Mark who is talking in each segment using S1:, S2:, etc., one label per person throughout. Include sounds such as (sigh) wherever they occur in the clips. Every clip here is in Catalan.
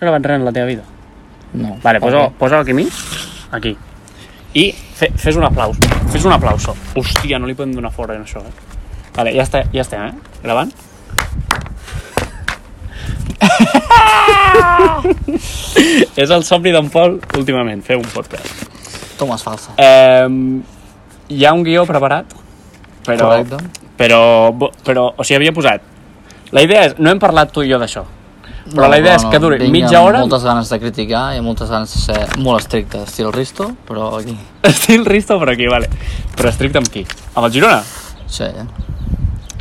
S1: gravat res en la teva vida?
S2: No.
S1: Vale, posa,
S2: Ok.
S1: posa aquí a mi. Aquí. I fe, fes un aplaus. Fes un aplauso. Hòstia, no li podem donar fora en això, eh? Vale, ja, està, ja estem, eh? Gravant. (laughs) És el somni d'en Pol últimament, fer un podcast.
S2: Toma, és falsa.
S1: Eh, hi ha un guió preparat, però...
S2: Correcte.
S1: Però, bo- però, o sigui, havia posat... La idea és, no hem parlat tu i jo d'això, però
S2: No,
S1: la idea és que duri
S2: vinc
S1: mitja
S2: amb
S1: hora...
S2: moltes ganes de criticar i moltes ganes de ser molt estricte, estil Risto, però aquí...
S1: Estil Risto per aquí, vale. Però estricte amb qui? Amb el Girona?
S2: Sí, eh?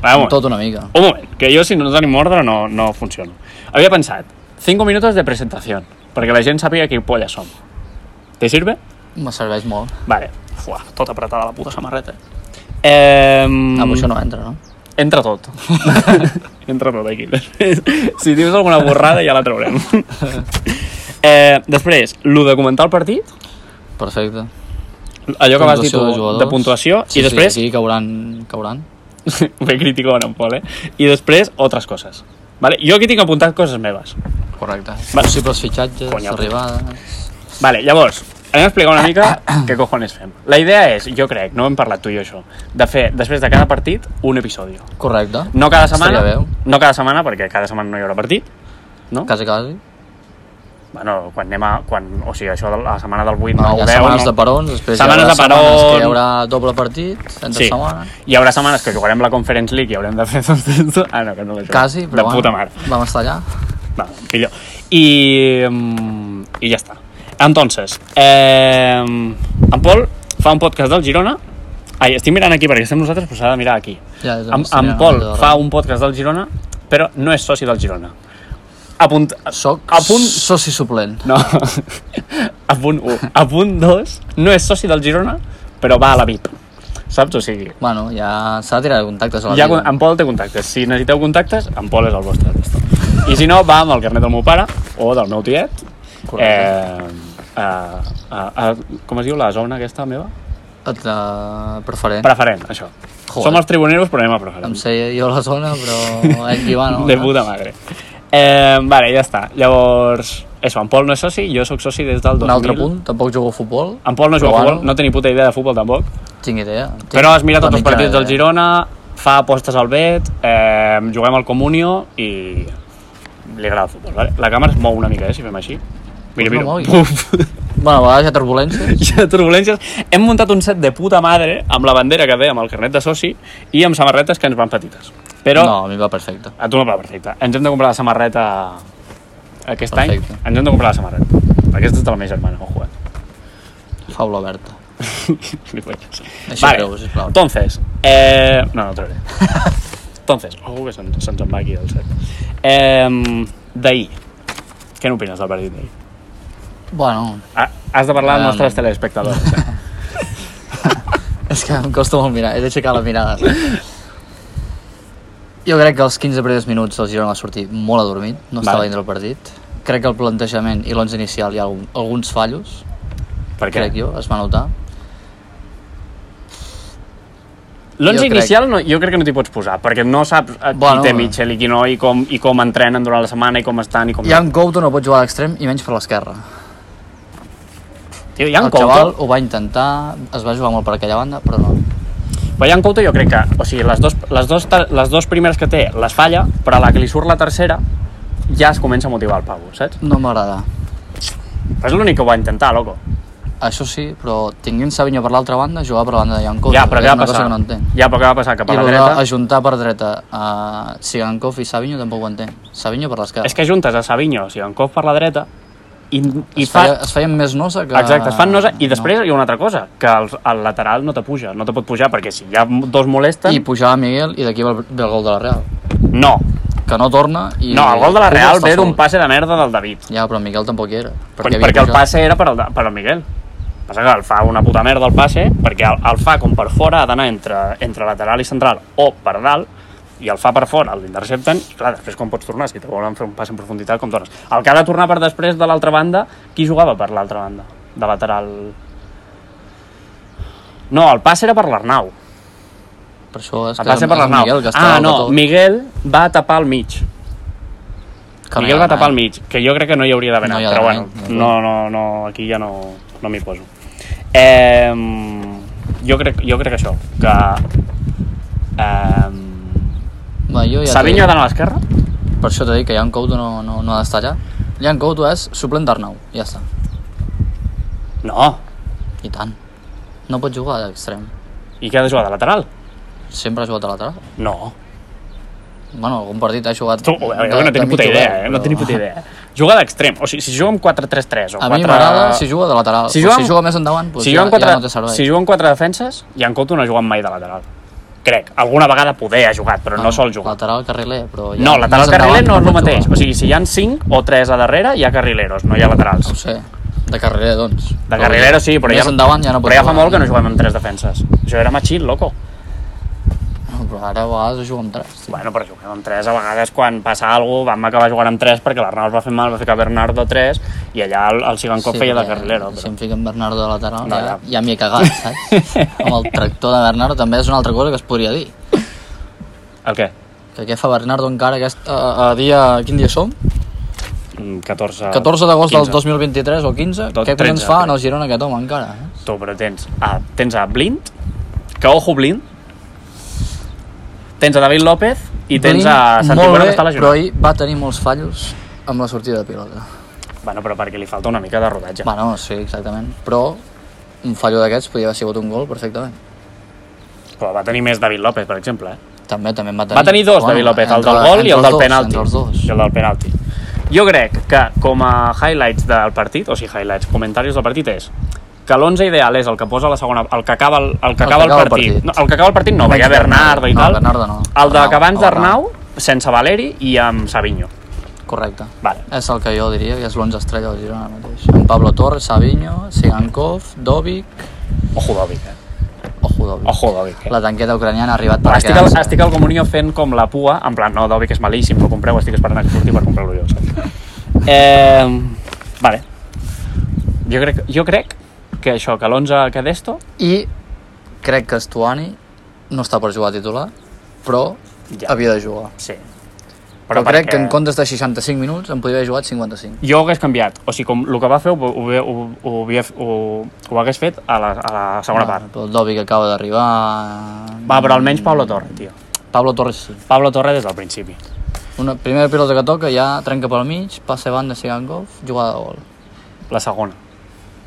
S1: Vamos.
S2: tot una mica.
S1: Un moment, que jo si no tenim ordre no, no funciona. Havia pensat, 5 minuts de presentació, perquè la gent sàpiga qui polla som. Te sirve?
S2: Me serveix molt. Ah,
S1: Vale. Fuà, tot apretada la puta samarreta. Eh...
S2: Mm. Amb això no entra, no?
S1: Entra
S2: (laughs)
S1: tot. Entra tot aquí. (laughs) Després, si dius alguna borrada ja la traurem. eh, després, lo de comentar el partit,
S2: Perfecte.
S1: allò que vas dir tu
S2: Puntuació de jugadors.
S1: de puntuació,
S2: Sí,
S1: i després
S2: Sí, aquí cauran, cauran.
S1: (laughs) Bé criticón, en Pol, eh? I després, altres coses. Vale? Jo aquí tinc apuntat coses meves.
S2: Correcte.
S1: Va.
S2: Possibles fitxatges,
S1: Conya, puta.
S2: arribades...
S1: Vale, llavors, anem a explicar una mica què cojones fem. La idea és, jo crec, no hem parlat tu i jo això, de fer, després de cada partit, un episodi.
S2: Correcte.
S1: No cada
S2: Estaria
S1: setmana,
S2: bé.
S1: no cada setmana, perquè cada setmana no hi haurà partit, no?
S2: Quasi, quasi.
S1: Bueno, quan anem a... Quan, o sigui, això de la setmana del 8,
S2: No,
S1: 9,
S2: Ah, hi ha
S1: 10...
S2: setmanes
S1: no?
S2: de parons, després
S1: Setmanes
S2: hi haurà
S1: de parons.
S2: setmanes que hi haurà doble partit, entre
S1: Sí.
S2: setmana.
S1: Hi haurà setmanes que jugarem la Conference League i haurem de fer tot esto. Ah, no, que no la juguem.
S2: Quasi, però
S1: De
S2: bueno,
S1: puta mare.
S2: vam estar allà.
S1: Va, millor. I, mm, i ja està. Entonces, eh, en Pol fa un podcast del Girona. Ai, estic mirant aquí perquè estem nosaltres, però s'ha de mirar aquí.
S2: Ja, ja
S1: En, en
S2: estem
S1: Pol
S2: allà
S1: fa
S2: darrere.
S1: un podcast del Girona, però no és soci del Girona. A punt...
S2: Soc
S1: A punt...
S2: soci suplent.
S1: No. (laughs) A punt 1. A punt 2, no és soci del Girona, però va a la VIP. Saps? O sigui,
S2: Bueno, ja s'ha de tirar de contactes a la
S1: ja,
S2: vida.
S1: en Pol té contactes. Si necessiteu contactes, en Pol és el vostre. Testo. I si no, va amb el carnet del meu pare o del meu tiet. Eh,
S2: Correcte.
S1: a, a, a, com es diu la zona aquesta meva?
S2: Altre eh, preferent.
S1: Preferent, això.
S2: Joder.
S1: Som els tribuneros, però anem a
S2: Em
S1: preferent.
S2: sé jo la zona, però ell qui va, no?
S1: De puta madre. Eh, vale, ja està. Llavors, eso, en Pol no és soci, jo sóc soci des del 2000.
S2: Un altre punt, tampoc jugo a futbol.
S1: En Pol no juga a
S2: Però
S1: futbol,
S2: bueno.
S1: no té ni puta idea de futbol tampoc.
S2: Tinc idea. Tinc
S1: Però has mirat
S2: la
S1: tots els
S2: mitjana
S1: partits del
S2: idea.
S1: Girona, fa apostes al Bet, eh, juguem al Comunio i li agrada el futbol, vale? La càmera es mou una mica, eh, si fem així. Mira,
S2: Pues
S1: mira.
S2: no mogui.
S1: Puf. (laughs)
S2: Bueno, a vegades hi ha turbulències.
S1: Hi ha turbulències. Hem muntat un set de puta madre amb la bandera que ve, amb el carnet de soci i amb samarretes que ens van petites. Però
S2: No, a mi va perfecte.
S1: a tu no va perfecte. Ens hem de comprar la samarreta aquest
S2: Perfecte.
S1: any. Ens hem de comprar la samarreta. Aquesta és de la meva germana, ojo, eh?
S2: Faula oberta.
S1: Gilipollas.
S2: Així treu, sisplau.
S1: Entonces, eh... No, no
S2: (laughs)
S1: trauré. Entonces, oh, que se'ns se en va aquí el set. Eh, d'ahir, què n'opines del partit d'ahir?
S2: Bueno,
S1: Ah, Has de parlar als
S2: Um,
S1: nostres telespectadors.
S2: (laughs)
S1: Eh?
S2: és que em costa molt mirar, he d'aixecar la mirada. saps? Jo crec que els 15 primers minuts el Girona va sortir molt adormit, no estava
S1: Vale.
S2: dintre el partit. Crec que el plantejament i l'11 inicial hi ha algun- alguns fallos,
S1: Per què?
S2: crec jo, es va notar.
S1: L'11
S2: jo crec-
S1: inicial no, jo crec que no t'hi pots posar, perquè no saps eh,
S2: Bueno,
S1: qui té Mitchell i qui no, i com, i com entrenen durant la setmana, i com estan, i com...
S2: Jan Couto no pot jugar a l'extrem i menys per l'esquerra.
S1: Tio, hi ha
S2: El
S1: en Couto,
S2: xaval ho va intentar, es va jugar molt per aquella banda, però no.
S1: però hi ha en Couto jo crec que, o sigui, les dos, les, dos, ter- les dos primeres que té les falla, però a la que li surt la tercera ja es comença a motivar el Pau, saps?
S2: No m'agrada.
S1: Però és l'únic que ho va intentar, loco.
S2: Això sí, però tinguent Savinho per l'altra banda, jugar per la banda de Jan Couto.
S1: ja, però
S2: és
S1: què va
S2: una cosa
S1: passar?
S2: que no entenc.
S1: ja, però què va passar? Cap
S2: I
S1: a la
S2: lo
S1: dreta...
S2: d'ajuntar per dreta a Sigankov i Savinho tampoc ho entenc. Savinho per l'esquerra.
S1: És que juntes a Savinho, o sigui, en cop per la dreta, i, i
S2: es,
S1: fa...
S2: feia, es feien més nosa que...
S1: Exacte, es fan nosa, i després hi ha una altra cosa, que el, el lateral no te puja, no te pot pujar, perquè si hi ha dos molesten...
S2: I pujava Miguel i d'aquí ve, el- ve el gol de la Real.
S1: No,
S2: Que no torna i...
S1: no, el gol de la
S2: Cubo
S1: Real
S2: està
S1: ve d'un
S2: sol.
S1: passe de merda del David.
S2: Ja, però Miguel tampoc hi era.
S1: Perquè,
S2: havia
S1: perquè el
S2: pujat.
S1: passe era per al, per al Miguel. Passa que el fa una puta merda el passe, perquè el, el fa com per fora, ha d'anar entre, entre lateral i central o per dalt, i el fa per fora, l'intercepten, i clar, després com pots tornar? Si te volen fer un pas en profunditat, com tornes? El que ha de tornar per després de l'altra banda, qui jugava per l'altra banda? De lateral... No, el passe era per l'Arnau.
S2: Per això és
S1: El
S2: que
S1: passe per
S2: és
S1: l'Arnau.
S2: Miguel que està
S1: Ah,
S2: dalt de
S1: no,
S2: tot.
S1: Miguel va tapar al mig.
S2: Que
S1: Miguel
S2: no hi ha
S1: va tapar al
S2: anat.
S1: mig, que jo crec que no hi hauria d'haver
S2: eh? No
S1: anat,
S2: hi ha
S1: però
S2: d'haver
S1: bueno,
S2: anat, no hi ha
S1: no, no, no, aquí ja no, no m'hi poso. Eh, jo, crec, jo crec això, que... Eh,
S2: Va, jo ja
S1: Savinho
S2: t'ho
S1: ha d'anar a l'esquerra?
S2: dic. Per això t'he dit que Jan Couto no, no, no ha d'estar allà. Jan Couto és suplent d'Arnau, ja està.
S1: No.
S2: I tant. No pot jugar a l'extrem.
S1: I què ha de jugar, de lateral?
S2: Sempre ha jugat a lateral.
S1: No.
S2: Bueno, algun partit ha jugat...
S1: Tu, a veure, no
S2: de
S1: tenia puta
S2: mig
S1: idea, eh?
S2: obert,
S1: No
S2: però-
S1: tenia puta idea. Jugar d'extrem, o sigui, si juga amb 4-3-3 o 4...
S2: (laughs) A mi m'agrada si juga de lateral.
S1: Si
S2: Si
S1: juga
S2: juga,
S1: amb-
S2: si juga més endavant, doncs
S1: si
S2: ja,
S1: juga amb quatre,
S2: ja no té servei.
S1: si juga amb quatre defenses, Jan Couto no ha jugat mai de lateral. Crec. Alguna vegada poder ha jugat, però no, no sol jugar.
S2: Lateral carriler, però... Ja
S1: No, lateral
S2: més
S1: carriler
S2: endavant
S1: no és el
S2: pot
S1: mateix.
S2: jugar.
S1: O sigui, si hi ha 5 o 3 a darrere, hi ha carrileros, no hi ha laterals.
S2: No ho sé, de carriler, doncs.
S1: De carrileros sí, però
S2: més
S1: ja,
S2: endavant ja no pot
S1: però ja fa
S2: jugar.
S1: molt que no juguem amb tres defenses. Això era Machín, loco.
S2: No, però ara a vegades juga amb tres.
S1: Bueno, però juguem amb tres a vegades quan passa alguna cosa, vam acabar jugant amb tres perquè l'Arnau es va fer mal, va ficar Bernardo 3 i allà el, el Sigankov feia de
S2: perquè
S1: carrilero.
S2: Si
S1: Però...
S2: em fiquen Bernardo de lateral,
S1: No,
S2: no, ja,
S1: ja.
S2: ja m'hi he cagat,
S1: (laughs)
S2: saps? amb el tractor de Bernardo també és una altra cosa que es podria dir.
S1: El què?
S2: Que què fa Bernardo encara aquest, a, a dia... Quin dia som?
S1: Mm, 14...
S2: 14 d'agost del
S1: 15.
S2: 2023 o 15?
S1: Tot
S2: què collons
S1: 13,
S2: fa
S1: crec.
S2: en el Girona aquest home encara? Eh?
S1: Tu, però tens a, tens a Blind, que ojo Blind, tens a David López i tens a Santi
S2: Molt
S1: Bueno
S2: bé,
S1: que està
S2: Però
S1: lesionat.
S2: ahir va tenir molts fallos amb la sortida de pilota.
S1: Bueno, però perquè li falta una mica de rodatge.
S2: Bueno, sí, exactament. Però un fallo d'aquests podria haver sigut un gol perfectament.
S1: Però va tenir més David López, per exemple. Eh?
S2: També, també en va tenir.
S1: Va tenir dos,
S2: Bueno,
S1: David López, el
S2: entre-
S1: del gol i
S2: entre
S1: el
S2: els
S1: del
S2: dos,
S1: penalti.
S2: Entre els dos.
S1: I el del penalti. Jo crec que com a highlights del partit, o sigui, highlights, comentaris del partit és que l'11 ideal és el que posa la segona... el que acaba el, el, que acaba el, partit. No, el que acaba el partit no, perquè hi ha Bernardo i
S2: no,
S1: tal.
S2: Bernardo no.
S1: El de
S2: Arnau,
S1: que abans
S2: Arnau.
S1: d'Arnau, sense Valeri i amb Savinho.
S2: Correcte.
S1: Vale.
S2: És el que jo diria que és l'11 estrella del Girona ara mateix. Amb Pablo Torres, Savinho, Sigankov, Dovic...
S1: Ojo Dovic, eh?
S2: Ojo, Dovic.
S1: Ojo Dovic, eh?
S2: La tanqueta ucraniana ha arribat per
S1: Però
S2: a
S1: estic, al,
S2: quedar-se.
S1: estic al Comunió fent com la pua, en plan, no, Dobi, que és malíssim, no compreu, estic esperant que surti per comprar-lo jo, saps? Eh, vale. Jo crec, jo crec que això, que l'11 que d'esto,
S2: I crec que Estuani no està per jugar a titular, però
S1: Ja.
S2: havia de jugar.
S1: sí.
S2: Però, crec que en comptes de 65 minuts em podria haver jugat 55.
S1: Jo ho hagués canviat. O sigui, com el que va fer ho, ho, ho, ho, ho, ho, ho hagués fet a la, a la segona
S2: Va,
S1: part.
S2: però el Dovi que acaba d'arribar...
S1: Va, però almenys Pablo Torre, tio.
S2: Pablo Torres sí.
S1: Pablo Torre des del principi.
S2: Una primera pilota que toca, ja trenca pel mig, passa a banda, Sigankov, jugada de gol.
S1: La segona.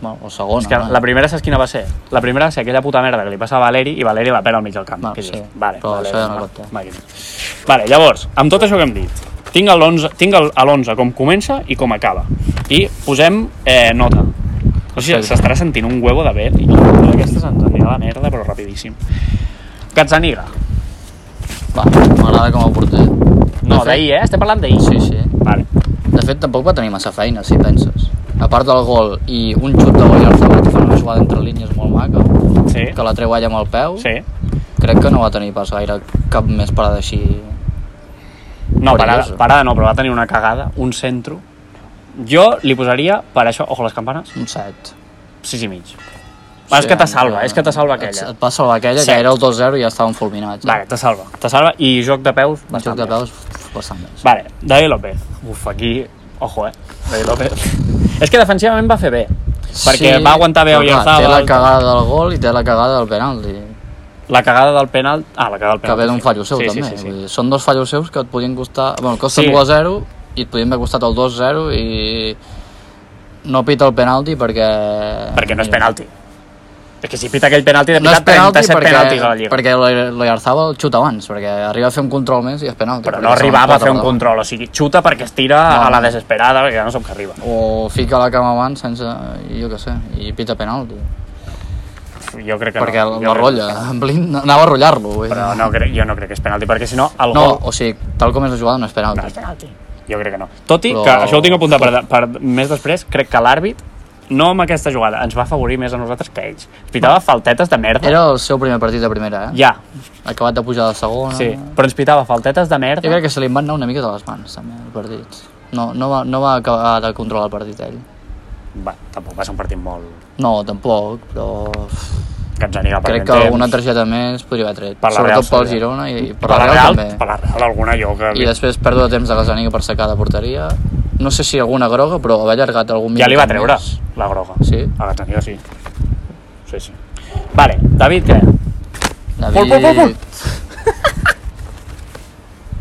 S2: Bueno, o segona. eh.
S1: És que
S2: no?
S1: la primera saps quina va ser? La primera va ser aquella puta merda que li passa a Valeri i Valeri la perd al mig del camp.
S2: Va,
S1: que dius,
S2: sí,
S1: Vale,
S2: però
S1: vale,
S2: això ja no
S1: va,
S2: compta.
S1: magnífic. Vale, llavors, amb tot això que hem dit, tinc el 11, tinc el, a l'11 com comença i com acaba. I posem eh, nota. O sigui,
S2: Sí.
S1: s'estarà sentint un huevo de bé i aquesta se'ns anirà a la merda, però rapidíssim. Gazzaniga.
S2: Va, m'agrada com a porter.
S1: No,
S2: De fet-
S1: d'ahir, eh? Estem parlant d'ahir.
S2: Sí, sí.
S1: Vale.
S2: De fet, tampoc va tenir massa feina, si penses. A part del gol i un xut de Boyer Zabat que fa una jugada entre línies molt maca,
S1: Sí.
S2: que la treu allà amb el peu,
S1: Sí.
S2: crec que no va tenir pas gaire cap més parada així.
S1: No, parada,
S2: Perilloso.
S1: parada no, però va tenir una cagada, un centro. Jo li posaria, per això, ojo a les campanes,
S2: Un set.
S1: 6 i mig. Va, és que te salva, és que te salva aquella.
S2: Et, et va salvar aquella,
S1: Set.
S2: que era el 2-0 i ja estaven fulminats.
S1: Vale, te salva. Te salva i joc de peus
S2: Un joc
S1: bastant
S2: de
S1: bé.
S2: peus bastant més.
S1: Vale, David López. Uf, aquí... Ojo, eh? David López. (laughs) és que defensivament va fer bé. Perquè va aguantar bé
S2: però clar, Té la
S1: Oyarzabal. La,
S2: cagada del gol i té la cagada del penalti,
S1: la cagada del penal... Ah, la cagada del
S2: que
S1: penal.
S2: ve d'un fallo seu
S1: sí,
S2: també.
S1: Sí, sí,
S2: Vull
S1: sí.
S2: dir, són dos fallos seus que et podien costar... Bueno, costen
S1: Sí.
S2: sí. 2-0 i et podien haver costat el 2-0 i no pita el penalti perquè...
S1: Perquè no és penalti. És que si pita aquell penalti, de
S2: No
S1: pitar
S2: és penalti
S1: 37
S2: perquè,
S1: penaltis a la Lliga.
S2: perquè l'Oyarzabal xuta abans, perquè arriba a fer un control més i és penalti.
S1: Però
S2: perquè
S1: no
S2: se
S1: arribava a fer un
S2: l'emporta
S1: control, o sigui, xuta perquè es tira
S2: No.
S1: a la desesperada, perquè ja no sóc que arriba.
S2: per davant. O fica la cama abans sense... jo què sé, i pita penalti.
S1: Jo crec que
S2: perquè
S1: no. jo
S2: no, la
S1: crec-
S2: rotlla, en Blind anava a rotllar-lo. vull dir.
S1: Però no, crec, jo no crec que és penalti, perquè si no, el
S2: No,
S1: gol...
S2: o sigui, tal com és la jugada no és penalti.
S1: No és penalti. Jo crec que no. Tot i
S2: Però-
S1: que, això ho tinc apuntat per, per més després, crec que l'àrbit, no amb aquesta jugada, ens va afavorir més a nosaltres que a ells. Es pitava faltetes de merda.
S2: Era el seu primer partit de primera, eh?
S1: Ja,
S2: Acabat de pujar de segona.
S1: sí. Però ens pitava faltetes de merda.
S2: Jo crec que se li en van anar una mica de les mans, també, el partit. No, no, va, no va acabar de controlar el partit, ell.
S1: Va, tampoc va ser un partit molt...
S2: No, tampoc, però...
S1: que ens anirà
S2: Crec
S1: perdent
S2: que
S1: temps.
S2: alguna targeta més podria haver tret.
S1: Per la Real
S2: Sobretot pel
S1: seria.
S2: Girona i, i per,
S1: per la Real,
S2: també.
S1: Per la Real alguna jo que...
S2: I després pèrdua de temps de Gazzaniga per secar de porteria. No sé si alguna groga, però haver allargat algun
S1: Ja li va
S2: minut
S1: treure
S2: més.
S1: la groga.
S2: Sí.
S1: A Gazzaniga sí. Sí, sí. Vale, David, què?
S2: David...
S1: Pol, pol, pol, pol.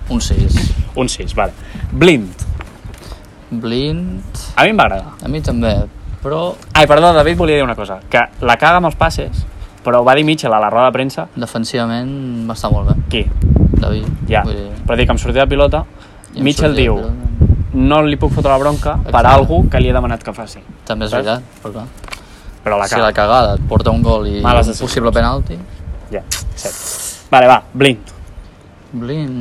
S2: (laughs) Un 6.
S1: Un 6, vale. Blind.
S2: Blind...
S1: A mi em va agradar.
S2: A mi també, però
S1: Ai, perdó, David volia dir una cosa. Que la caga amb els passes, però ho va dir Mitchell a la roda de premsa.
S2: defensivament va estar molt bé,
S1: Qui?
S2: David.
S1: Ja.
S2: Vull dir,
S1: Però dic, em sortia la pilota,
S2: i em
S1: Mitchell diu,
S2: sortia, però
S1: no li puc fotre la bronca per
S2: Exacte.
S1: algú que li he demanat que faci.
S2: També és
S1: Saps?
S2: veritat, però clar.
S1: Però la
S2: si
S1: caga.
S2: la cagada et porta un gol i
S1: Males
S2: un
S1: decisions.
S2: possible penalti...
S1: Ja, cert. Vale, va, Blind.
S2: Blin...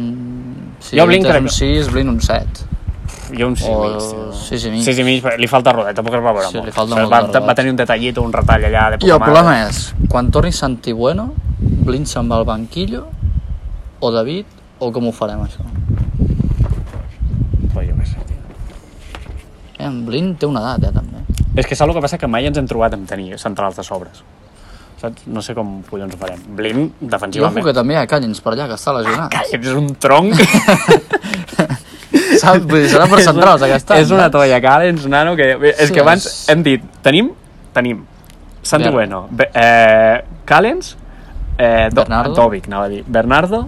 S2: Si
S1: Jo Blin
S2: és
S1: crec
S2: un
S1: que-
S2: 6, Blin un 7.
S1: Jo un 6
S2: O
S1: mig, tio.
S2: sis i mig.
S1: Sis i mig, però li falta rodet, tampoc es va veure
S2: Sí,
S1: molt.
S2: li falta
S1: O sigui,
S2: molt de
S1: va,
S2: rodet.
S1: va tenir un detallit, un retall allà de
S2: I
S1: poca
S2: el problema és, quan torni Santi Bueno, Blin se'n va al banquillo, o David, o com ho farem, això?
S1: Però jo què sé, tio.
S2: Eh, en Blin té una edat, eh, també.
S1: És que saps el que passa? Que mai ens hem trobat amb tenir centrals de sobres. Saps? No sé com collons ho farem. Blin,
S2: Jo ojo
S1: defensivament.
S2: que també hi ha Callens per allà, que està
S1: (laughs)
S2: lesionat.
S1: Calla, és un
S2: (laughs)
S1: tronc.
S2: Saps? Vull dir, serà per centrals, aquest
S1: (laughs)
S2: any.
S1: És una toalla Callens, nano, que... És
S2: Sí,
S1: que abans
S2: és-
S1: hem dit, tenim, tenim. Santi
S2: Ber-
S1: Bueno, Be- eh, Callens, eh, Do-
S2: Bernardo.
S1: Dovic, anava a dir, Bernardo,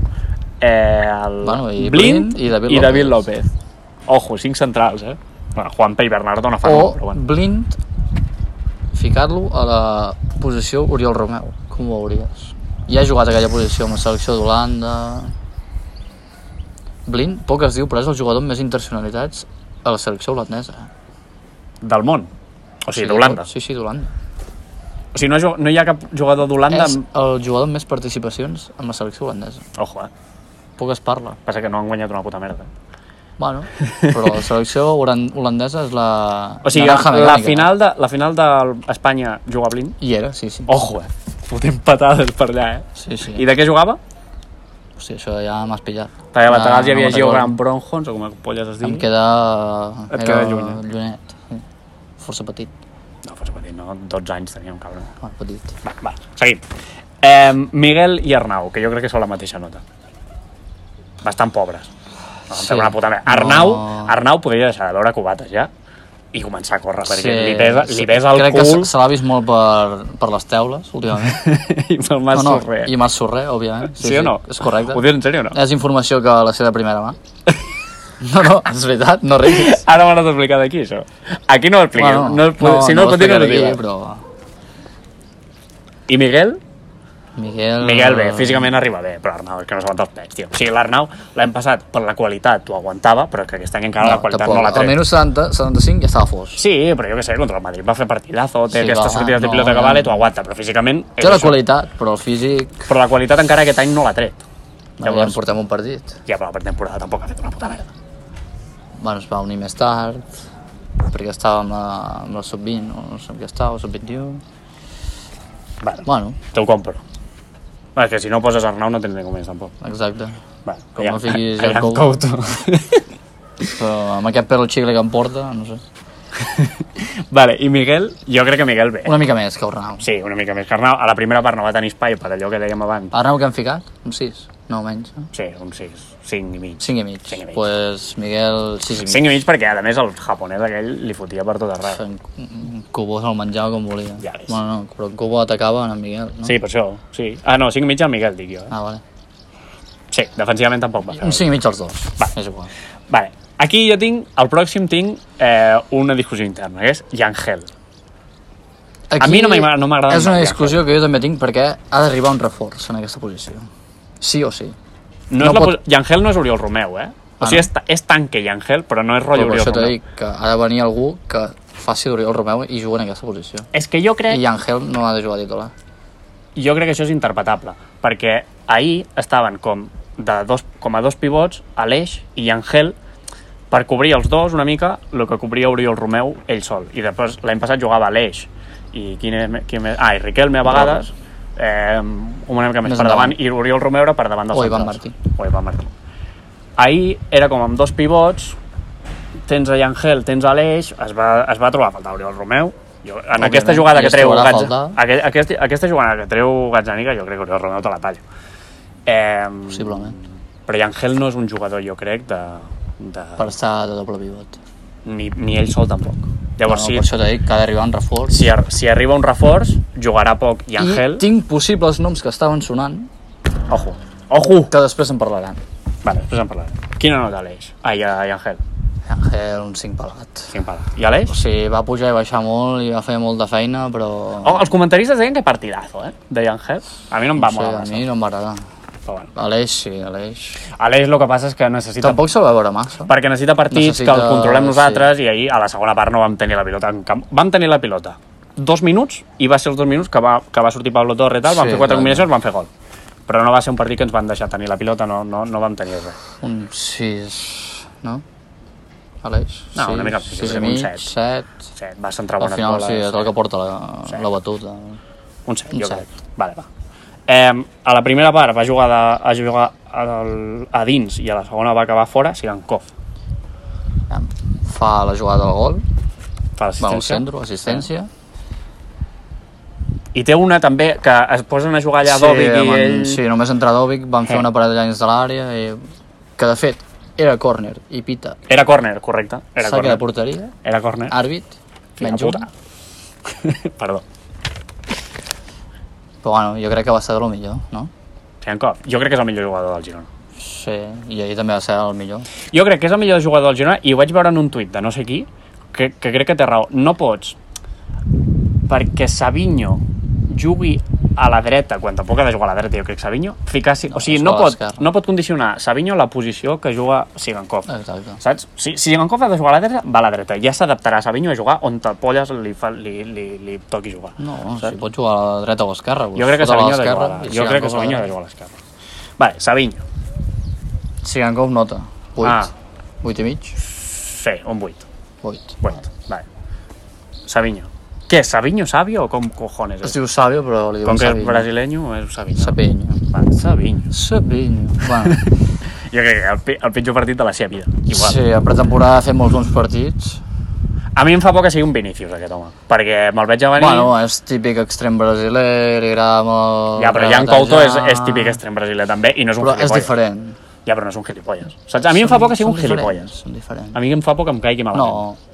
S1: eh, el
S2: Bueno, i
S1: Blind
S2: Blind i David
S1: i David
S2: López.
S1: López. Ojo, cinc centrals, eh? Bueno, Juanpe i Bernardo no fan gol,
S2: O
S1: però bueno.
S2: Blind, ficar-lo a la posició Oriol Romeu. Com ho veuries? Ja ha jugat aquella posició amb la selecció d'Holanda... Blind, poc es diu, però és el jugador amb més internacionalitats a la selecció holandesa.
S1: Del món. O sigui,
S2: Sí,
S1: d'Holanda.
S2: Sí, sí, d'Holanda.
S1: O sigui, no, jo- no hi ha cap jugador d'Holanda...
S2: És
S1: amb-
S2: el jugador amb més participacions amb la selecció holandesa.
S1: Ojo, eh?
S2: Poc es parla.
S1: Passa que no han guanyat una puta merda.
S2: Bueno, però la selecció holan- holandesa és la...
S1: O sigui,
S2: naranja
S1: la
S2: mecànica.
S1: final, de, la final d'Espanya juga Blind
S2: Hi era, sí, sí.
S1: Ojo, eh? Fotent patades per allà, eh?
S2: Sí, sí.
S1: I de què jugava?
S2: Hòstia, això ja m'has pillat.
S1: Talla Batagals hi
S2: No,
S1: havia
S2: Ah, no me'n
S1: Geogran
S2: recordo.
S1: Bronhons, o com a polles es
S2: Em
S1: digui.
S2: queda...
S1: Et
S2: era
S1: queda eh? llunyet.
S2: Llunyet. sí. Força petit.
S1: No, fos petit, no, 12 anys tenia un cabron.
S2: Bueno, petit.
S1: Va, va, seguim. Eh, Miguel i Arnau, que jo crec que són la mateixa nota. Bastant pobres. No,
S2: Sí.
S1: sí. una puta merda. Arnau,
S2: No.
S1: Arnau podria deixar de veure cubates ja i començar a córrer, perquè
S2: Sí,
S1: li pesa,
S2: sí,
S1: li pesa el
S2: crec
S1: cul
S2: que se- se l'ha vist molt per, per les teules, últimament.
S1: (laughs) i pel mas
S2: no, no,
S1: sorrer.
S2: I Marc Sorrer, òbviament.
S1: Sí, o no?
S2: És correcte. Eh.
S1: Ho dius en sèrio o no?
S2: És informació que la sé de primera mà. (laughs) No, no, és veritat, no riguis.
S1: Ara m'ho has d'explicar d'aquí, això. Aquí no ho expliquem. no, es pot- si no, ho pot dir, no ho
S2: explicaré,
S1: dirà.
S2: però...
S1: I Miguel?
S2: Miguel...
S1: Miguel bé, físicament arriba bé, però Arnau és que no s'aguanta els pets, tio. O sigui, l'Arnau l'hem passat per la qualitat, ho aguantava, però que aquest any encara la qualitat no la
S2: Al
S1: trec.
S2: minut 70, 75 ja estava fos.
S1: Sí, però jo què sé, contra el Madrid va fer partidazo, té sí,
S2: Sí,
S1: aquestes
S2: va,
S1: sortides de
S2: no,
S1: pilota que
S2: no.
S1: vale, t'ho aguanta, però físicament... és
S2: Té la
S1: això.
S2: qualitat, però el físic...
S1: Però la qualitat encara aquest any no l'ha tret.
S2: Llavors... Ja en portem un partit.
S1: ja, però per temporada tampoc ha fet una puta merda.
S2: Bueno, es va unir més tard, perquè estava amb la, amb la sub-20, o no sé amb què estava, sub-21...
S1: Vale,
S2: Bueno,
S1: t'ho compro. Va, és que si no poses Arnau no tens ningú més, tampoc.
S2: exacte.
S1: Vale,
S2: Com no fiquis
S1: allà
S2: el
S1: em
S2: Couto.
S1: Couto.
S2: Però amb aquest pèl xicle que em porta, no sé.
S1: (laughs) vale, i Miguel, jo crec que Miguel bé.
S2: Una mica més que Arnau.
S1: Sí, una mica més que Arnau. A la primera part no va tenir espai per allò que dèiem abans.
S2: Arnau que han ficat? Un 6? No, menys. No?
S1: Sí, un 6, 5 i mig.
S2: 5 i mig.
S1: Cinc i mig.
S2: pues Miguel, 6 i mig.
S1: 5 i mig perquè, a més, el japonès aquell li fotia per tot arreu.
S2: En en Cubo se'l menjava com volia.
S1: Ja ves.
S2: Bueno, no, però en Cubo atacava en el Miguel, no?
S1: Sí, per això, sí. Ah, no, 5 i mig el Miguel, dic jo. Eh?
S2: Ah, vale.
S1: Sí, defensivament tampoc va fer.
S2: Un 5 i mig els dos.
S1: Va.
S2: És igual.
S1: Vale, aquí jo tinc, el pròxim tinc eh, una discussió interna, que és Yangel.
S2: Aquí
S1: mi no m'agrada- no m'agrada
S2: És una
S1: mai,
S2: discussió que jo també tinc perquè ha d'arribar un reforç en aquesta posició. Sí o sí.
S1: No, no
S2: No
S1: és la
S2: pot-
S1: pot... Yangel no és Oriol Romeu, eh?
S2: Ah,
S1: O sigui,
S2: no.
S1: és, ta- és tanque Yangel, però no és
S2: Però
S1: rotllo
S2: per
S1: Oriol
S2: això t'he
S1: Romeu.
S2: dit que ha de venir algú que faci d'Oriol Romeu i jugui en aquesta posició.
S1: És que jo crec...
S2: I Ángel no ha de jugar titular.
S1: jo crec que això és interpretable, perquè ahir estaven com, de dos, com a dos pivots, Aleix i Angel, per cobrir els dos una mica el que cobria Oriol Romeu ell sol. I després l'any passat jugava Aleix i quin és, me- qui més, ah, i Riquelme a vegades, eh, una mica més,
S2: Més
S1: per
S2: endavant.
S1: davant, i Oriol Romeu era per davant dels
S2: O Ivan
S1: centrals. O Ivan Martí. Ahir era com amb dos pivots, tens a Yangel, tens a Aleix, es va, es va trobar a faltar Oriol Romeu, Jo, en Òbviament, aquesta jugada
S2: i
S1: que
S2: es
S1: treu
S2: trobarà a
S1: Gats,
S2: faltar.
S1: aquest, aquest, aquesta jugada que treu Gazzaniga jo crec que Ronaldo te la talla. Eh,
S2: possiblement,
S1: Però Angel no és un jugador, jo crec, de, de...
S2: per estar de doble pivot.
S1: Ni, ni ell sol tampoc.
S2: No,
S1: Llavors,
S2: Per
S1: si,
S2: això t'he dit que ha d'arribar un reforç.
S1: si, ar si arriba un reforç, jugarà poc i Angel...
S2: I tinc possibles noms que estaven sonant,
S1: Ojo. Ojo!
S2: que després en parlaran.
S1: Vale, després en parlarem. Quina nota l'eix? Ah, i, a- i Angel.
S2: Angel, un 5 pelat.
S1: Cinc pala. I a l'eix?
S2: O sigui, va pujar i baixar molt i va fer molta feina, però...
S1: Oh, els comentaristes deien que partidazo, eh? Deia Angel. A mi no em va
S2: no sé,
S1: molt.
S2: a
S1: Sí,
S2: mi no em va agradar.
S1: però bueno.
S2: Aleix, sí, Aleix.
S1: A l'eix el que passa és que necessita...
S2: Tampoc se'l va veure massa.
S1: Perquè necessita partits
S2: Necessita-
S1: que el controlem
S2: sí.
S1: nosaltres i ahir a la segona part no vam tenir la pilota en camp. Vam tenir la pilota dos minuts i va ser els dos minuts que va, que va sortir Pablo Torre i tal, vam
S2: Sí,
S1: fer quatre
S2: clar.
S1: combinacions, vam fer gol. Però no va ser un partit que ens van deixar tenir la pilota, no, no, no vam tenir res.
S2: Un 6, no? Aleix?
S1: No, una
S2: Sis,
S1: mica, sí,
S2: sis
S1: sí,
S2: i
S1: un
S2: mig,
S1: set.
S2: set.
S1: Sí, va centrar
S2: Al
S1: bones
S2: final,
S1: boles.
S2: sí, és el que porta la, la batuta.
S1: Un set,
S2: Un
S1: jo
S2: set.
S1: crec. Vale, va. Eh, a la primera part va jugar, de, a, jugar al, a dins i a la segona va acabar fora Sirankov.
S2: Aviam, Fa la jugada del gol,
S1: Fa
S2: va al
S1: l'assistència.
S2: centre, assistència.
S1: I té una també que es posen a jugar allà sí, Dovic i
S2: amb-
S1: ell...
S2: Sí, només entra Dovic, van fer
S1: Eh.
S2: una parada d'anys de l'àrea, i... que de fet era córner i pita
S1: Era córner, correcte. Era
S2: saque de
S1: córner.
S2: porteria,
S1: Era córner.
S2: àrbit,
S1: Filla
S2: menys un.
S1: puta. (laughs) Perdó.
S2: Però bueno, jo crec que va ser el millor, no?
S1: Fiancov, jo crec que és el millor jugador del Girona.
S2: Sí, i ahir també va ser el millor.
S1: Jo crec que és el millor jugador del Girona i ho vaig veure en un tuit de no sé qui, que, que crec que té raó. No pots, perquè Savinho jugui a la dreta, quan tampoc ha de jugar a la dreta, jo crec que Savinho, ficar... No, o sigui,
S2: es
S1: no
S2: fa a
S1: pot,
S2: l'esquerra. Ah.
S1: no pot condicionar Savinho la posició que juga Sigankov.
S2: Exacte.
S1: Saps? Si, si Sigankov ha de jugar a la dreta, va a la dreta. Ja s'adaptarà a Savinho a jugar on te polles li, fa, li, li, li toqui jugar.
S2: No, no si pot jugar a la dreta o a l'esquerra.
S1: Jo crec Pues, que
S2: fot-la
S1: Savinho ha de
S2: l'esquerra
S1: jugar a la...
S2: i
S1: Jo crec que
S2: Sigankov a la
S1: Savinho ha de jugar a l'esquerra. Vale, Savinho.
S2: dreta. Sigankov nota, 8.
S1: Ah.
S2: 8 i mig,
S1: Fer, un 8.
S2: 8.
S1: 8, vale. Savinho. Què, Savinho Sabio o com cojones
S2: Es
S1: és?
S2: diu Sabio, però li
S1: Com
S2: diuen
S1: que és
S2: Sabinho.
S1: brasileño, és Savinho.
S2: Sabinho.
S1: Vale, Savinho.
S2: Sabinho. Bueno,
S1: Jo crec que el, pi- el pitjor partit de la seva vida. (laughs) Igual.
S2: sí, a pretemporada ha fet molts bons partits.
S1: A mi em fa por que sigui un Vinicius, aquest home. Perquè me'l veig a venir...
S2: Bueno, és típic extrem brasiler, li agrada molt...
S1: ja, però Jan
S2: regatejar.
S1: Couto és, és típic extrem brasiler també i no és un
S2: Però és
S1: gilipolles.
S2: diferent.
S1: Ja, però no és un gilipolles. Saps? A mi em fa por que sigui un
S2: Són diferents,
S1: gilipolles.
S2: Són diferents.
S1: A mi em fa por que em caigui malament.
S2: No.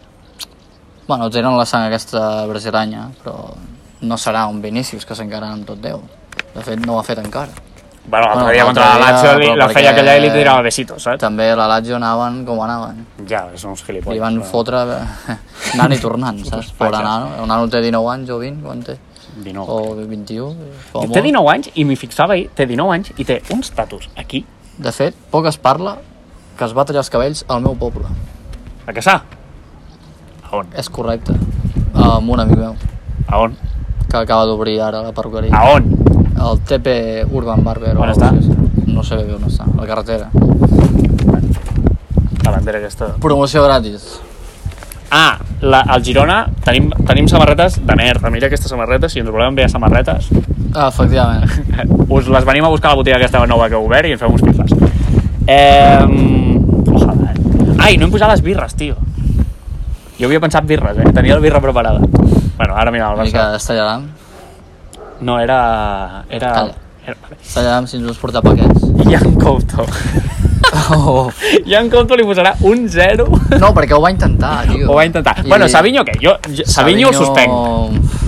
S2: Bueno, tenen la sang aquesta brasilanya, però no serà un Vinícius que s'encararà amb tot Déu. De fet, no ho ha fet encara.
S1: Bueno, l'altre
S2: Bueno,
S1: dia contra la
S2: l'altre dia,
S1: Lazio li-
S2: però
S1: la feia
S2: perquè-
S1: aquella i li tirava besitos, saps?
S2: També la Lazio anaven com anaven.
S1: Ja, són uns gilipolles.
S2: Li van
S1: però-
S2: fotre eh, (laughs) anant i tornant,
S1: Ah,
S2: saps? Pobre nano. El nano té 19 anys o 20, quan té?
S1: 19.
S2: O 21. com
S1: Té
S2: a molt.
S1: 19 anys i m'hi fixava ahir, té 19 anys i té un estatus aquí,
S2: De fet, poc es parla que es va tallar els cabells al meu poble.
S1: a Caçà. A on?
S2: És correcte. Amb un amic meu,
S1: A on?
S2: que acaba d'obrir ara
S1: A
S2: la perruqueria.
S1: on?
S2: El TP Urban Barber. o
S1: Ah. On
S2: alguna
S1: està?
S2: cosa així. No sé bé on està, a la carretera.
S1: La bandera aquesta.
S2: Promoció gratis.
S1: Ah, la, al Girona tenim, tenim samarretes de merda. Mira aquestes samarretes, si ens volem enviar samarretes, (laughs)
S2: Ah, efectivament.
S1: us les venim a buscar a la botiga aquesta nova que heu obert i ens fem uns pifes. Eh, ojalà, eh? Ai, no hem posat les birres, tio. Jo havia pensat birres, eh? Tenia la birra preparada. Bueno, ara mira, el
S2: Una mica
S1: Barça...
S2: d'estallaram.
S1: No, era... Era...
S2: Calla.
S1: era...
S2: Estallaram si ens vols portar paquets. (laughs)
S1: Jan Couto. (laughs)
S2: Oh.
S1: Jan Couto li posarà un 0
S2: No, perquè ho va intentar, tio.
S1: ho va intentar. Bueno, Savinho què? Jo, jo Savinho, ho suspenc.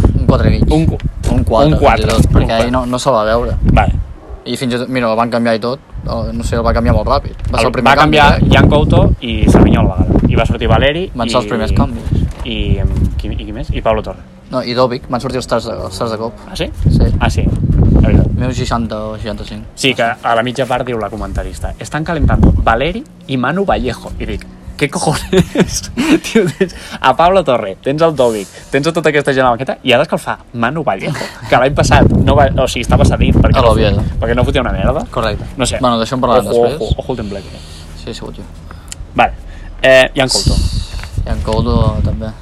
S2: Un 4 i mig.
S1: Un, cu-
S2: un 4,
S1: Un quatre. Un
S2: perquè
S1: quatre.
S2: ahir no, no se'l va veure.
S1: Vale.
S2: I fins i tot, mira, el van canviar i tot. El- No sé, el va canviar molt ràpid. Va ser el primer
S1: va canviar
S2: canvi. eh?
S1: Jan Couto i Savinho al vegada. I va sortir Valeri
S2: Van
S1: i...
S2: ser els primers canvis.
S1: I, em- qui, i qui més? I Pablo Torre.
S2: eh? No, i Dovic, van sortir els tars de, els tars de cop.
S1: Ah, sí?
S2: Sí.
S1: Ah, sí. La veritat.
S2: Meus 60 o 65.
S1: Sí, que a la mitja part diu la comentarista Estan calentando Valeri i Manu Vallejo I dic, què cojones? (laughs) Tio, tens a Pablo Torre, tens el Dovic Tens a tota aquesta gent a la banqueta I ara escalfar Manu Vallejo Que l'any passat, no va, o sigui, estava cedit perquè,
S2: A
S1: no,
S2: l'Oviedo.
S1: fotia- perquè no fotia una merda
S2: Correcte.
S1: No sé
S2: Bueno, d'això en parlarem
S1: ojo,
S2: eh? després.
S1: Ojo, ojo el temple eh?
S2: Sí, ha sigut jo.
S1: Vale, eh, Jan Couto
S2: I en Couto també.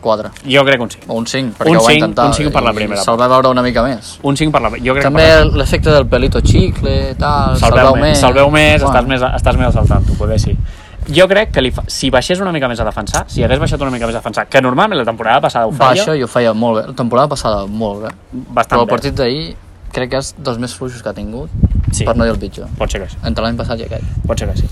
S2: 4.
S1: Jo crec un 5
S2: O un 5, perquè
S1: Un
S2: ho va
S1: cinc,
S2: intentar.
S1: un cinc per la
S2: i
S1: primera.
S2: Se'l va veure una mica més.
S1: Un 5 per la... Jo crec
S2: També
S1: que per la...
S2: l'efecte del pelito xicle, tal,
S1: Se'l veu més, se'l veu més
S2: Bueno,
S1: estàs, més, estàs més al saltant, tu poder sí. jo crec que li fa... si baixés una mica més a defensar, si hagués baixat una mica més a defensar, que normalment la temporada passada ho feia,
S2: Baixa i ho feia molt bé. La temporada passada, molt bé. Però
S1: bastant
S2: el partit d'ahir crec que és dels més fluixos que ha tingut,
S1: bé. Sí,
S2: per no dir el pitjor.
S1: pot ser que sí.
S2: Entre l'any passat i aquest.
S1: Pot ser que sí.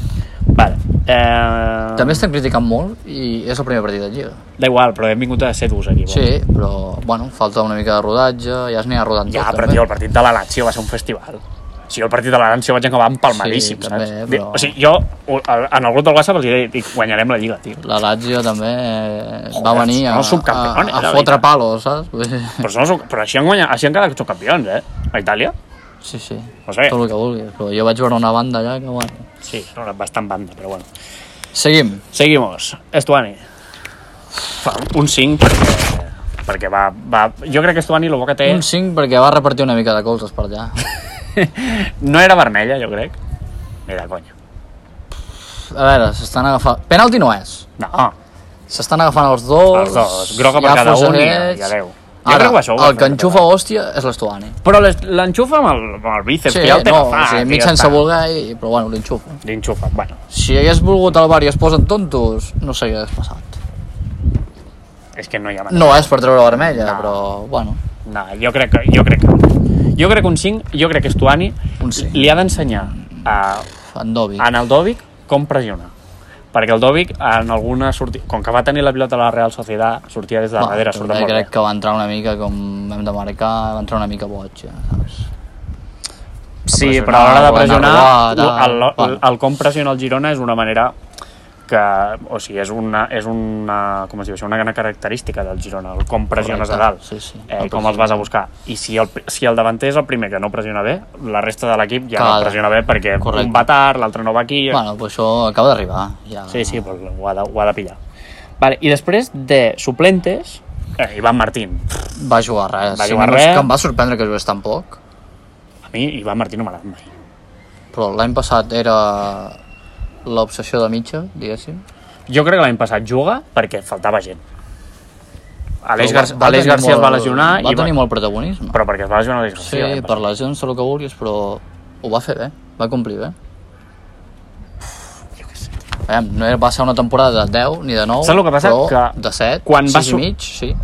S1: Vale. Eh...
S2: També estan criticant molt i és el primer partit de Lliga.
S1: Da igual, però hem vingut a ser durs aquí.
S2: Sí, però, bueno, falta una mica de rodatge, ja es n'hi ha rodat
S1: Ja,
S2: tot,
S1: però
S2: també.
S1: tio, el partit de la Lazio va ser un festival. O sigui, el partit de la Lazio vaig acabar empalmadíssim,
S2: Sí,
S1: saps?
S2: també, però-
S1: O sigui, jo, o- en el grup del WhatsApp els diré, dic, guanyarem la Lliga, tio.
S2: La Lazio també eh, va
S1: Joder,
S2: venir a,
S1: són els
S2: a,
S1: subcampeones,
S2: a
S1: la
S2: fotre
S1: veritat.
S2: palos, saps? Vull dir, (laughs)
S1: Però, són, els- però així, han guanyat, així han quedat subcampions, eh? A Itàlia?
S2: Sí, sí,
S1: Ho sé.
S2: tot el que vulguis. Però jo vaig veure una banda allà que, bueno...
S1: Sí, no, bastant banda, però bueno.
S2: Seguim.
S1: Seguimos. Estuani. Fa un 5 perquè, perquè va, va... Jo crec que Estuani el bo que té...
S2: Un 5 perquè va repartir una mica de colzes per allà. Mm.
S1: No era vermella, jo crec. Ni de conya.
S2: A veure, s'estan agafant... Penalti no és.
S1: No,
S2: S'estan agafant els dos.
S1: els dos. Groga per cada un i, i adeu. Jo
S2: Ara,
S1: crec que això ho va
S2: el
S1: fer
S2: que enxufa hòstia és l'Estuani.
S1: Però les- l'enxufa amb, el, amb el bíceps,
S2: Sí,
S1: que ja el té
S2: no,
S1: agafat.
S2: o sigui,
S1: i
S2: mig
S1: ja
S2: sense
S1: està.
S2: voler, i, però bueno, l'enxufa.
S1: L'enxufa, bueno.
S2: Si hagués volgut el bar i es posen tontos, no s'hagués passat.
S1: És que no hi ha manera.
S2: No és per treure vermella,
S1: No.
S2: però bueno.
S1: No, jo crec que... Jo crec que, jo crec que un 5, jo crec que Estuani
S2: Un cinc.
S1: li ha d'ensenyar a,
S2: En Dovi.
S1: en el Dovic com pressionar. Perquè el Dovic, en alguna sortida... Com que va tenir la pilota a la Real Sociedad, sortia des de
S2: Va,
S1: darrere, surt
S2: també
S1: molt
S2: crec
S1: bé.
S2: que va entrar una mica com hem de marcar, va entrar una mica boig, ja, saps?
S1: Sí,
S2: pressionar,
S1: però a l'hora de
S2: van
S1: pressionar,
S2: arribar,
S1: el, el,
S2: tal,
S1: el, el com pressiona el Girona és una manera que, o sigui, és una, és una, com es diu això, una gran característica del Girona, el com pressiones a
S2: Correcte,
S1: dalt,
S2: sí, sí.
S1: eh, com els vas a buscar. I si el, si el davanter és el primer que no pressiona bé, la resta de l'equip ja
S2: Clar.
S1: no pressiona bé perquè
S2: Correcte.
S1: un va tard, l'altre no va aquí...
S2: Bueno, doncs això acaba d'arribar. Ja.
S1: Sí, sí, però ho ha de, ho ha de pillar. Vale, I després de suplentes, eh, Ivan Martín.
S2: Va jugar res.
S1: Va
S2: Sí,
S1: jugar
S2: no,
S1: res.
S2: és Que em va sorprendre que jugués tan poc.
S1: A mi Ivan Martín no m'ha agradat mai.
S2: Però l'any passat era l'obsessió de mitja, diguéssim.
S1: Jo crec que l'any passat juga perquè faltava gent. Aleix,
S2: Però
S1: Gar Aleix
S2: tenir
S1: Garcia es va
S2: molt-
S1: lesionar, i
S2: Va
S1: va...
S2: tenir molt protagonisme.
S1: però perquè es va lesionar Aleix
S2: Sí,
S1: Garcia. l'any
S2: per
S1: passat.
S2: lesions, tot el que vulguis, però ho va fer bé, va complir bé. Aviam, no era- va ser una temporada de 10 ni de 9,
S1: Saps el que passa?
S2: però
S1: Que
S2: de 7,
S1: quan va
S2: 6
S1: su-
S2: i mig, sí.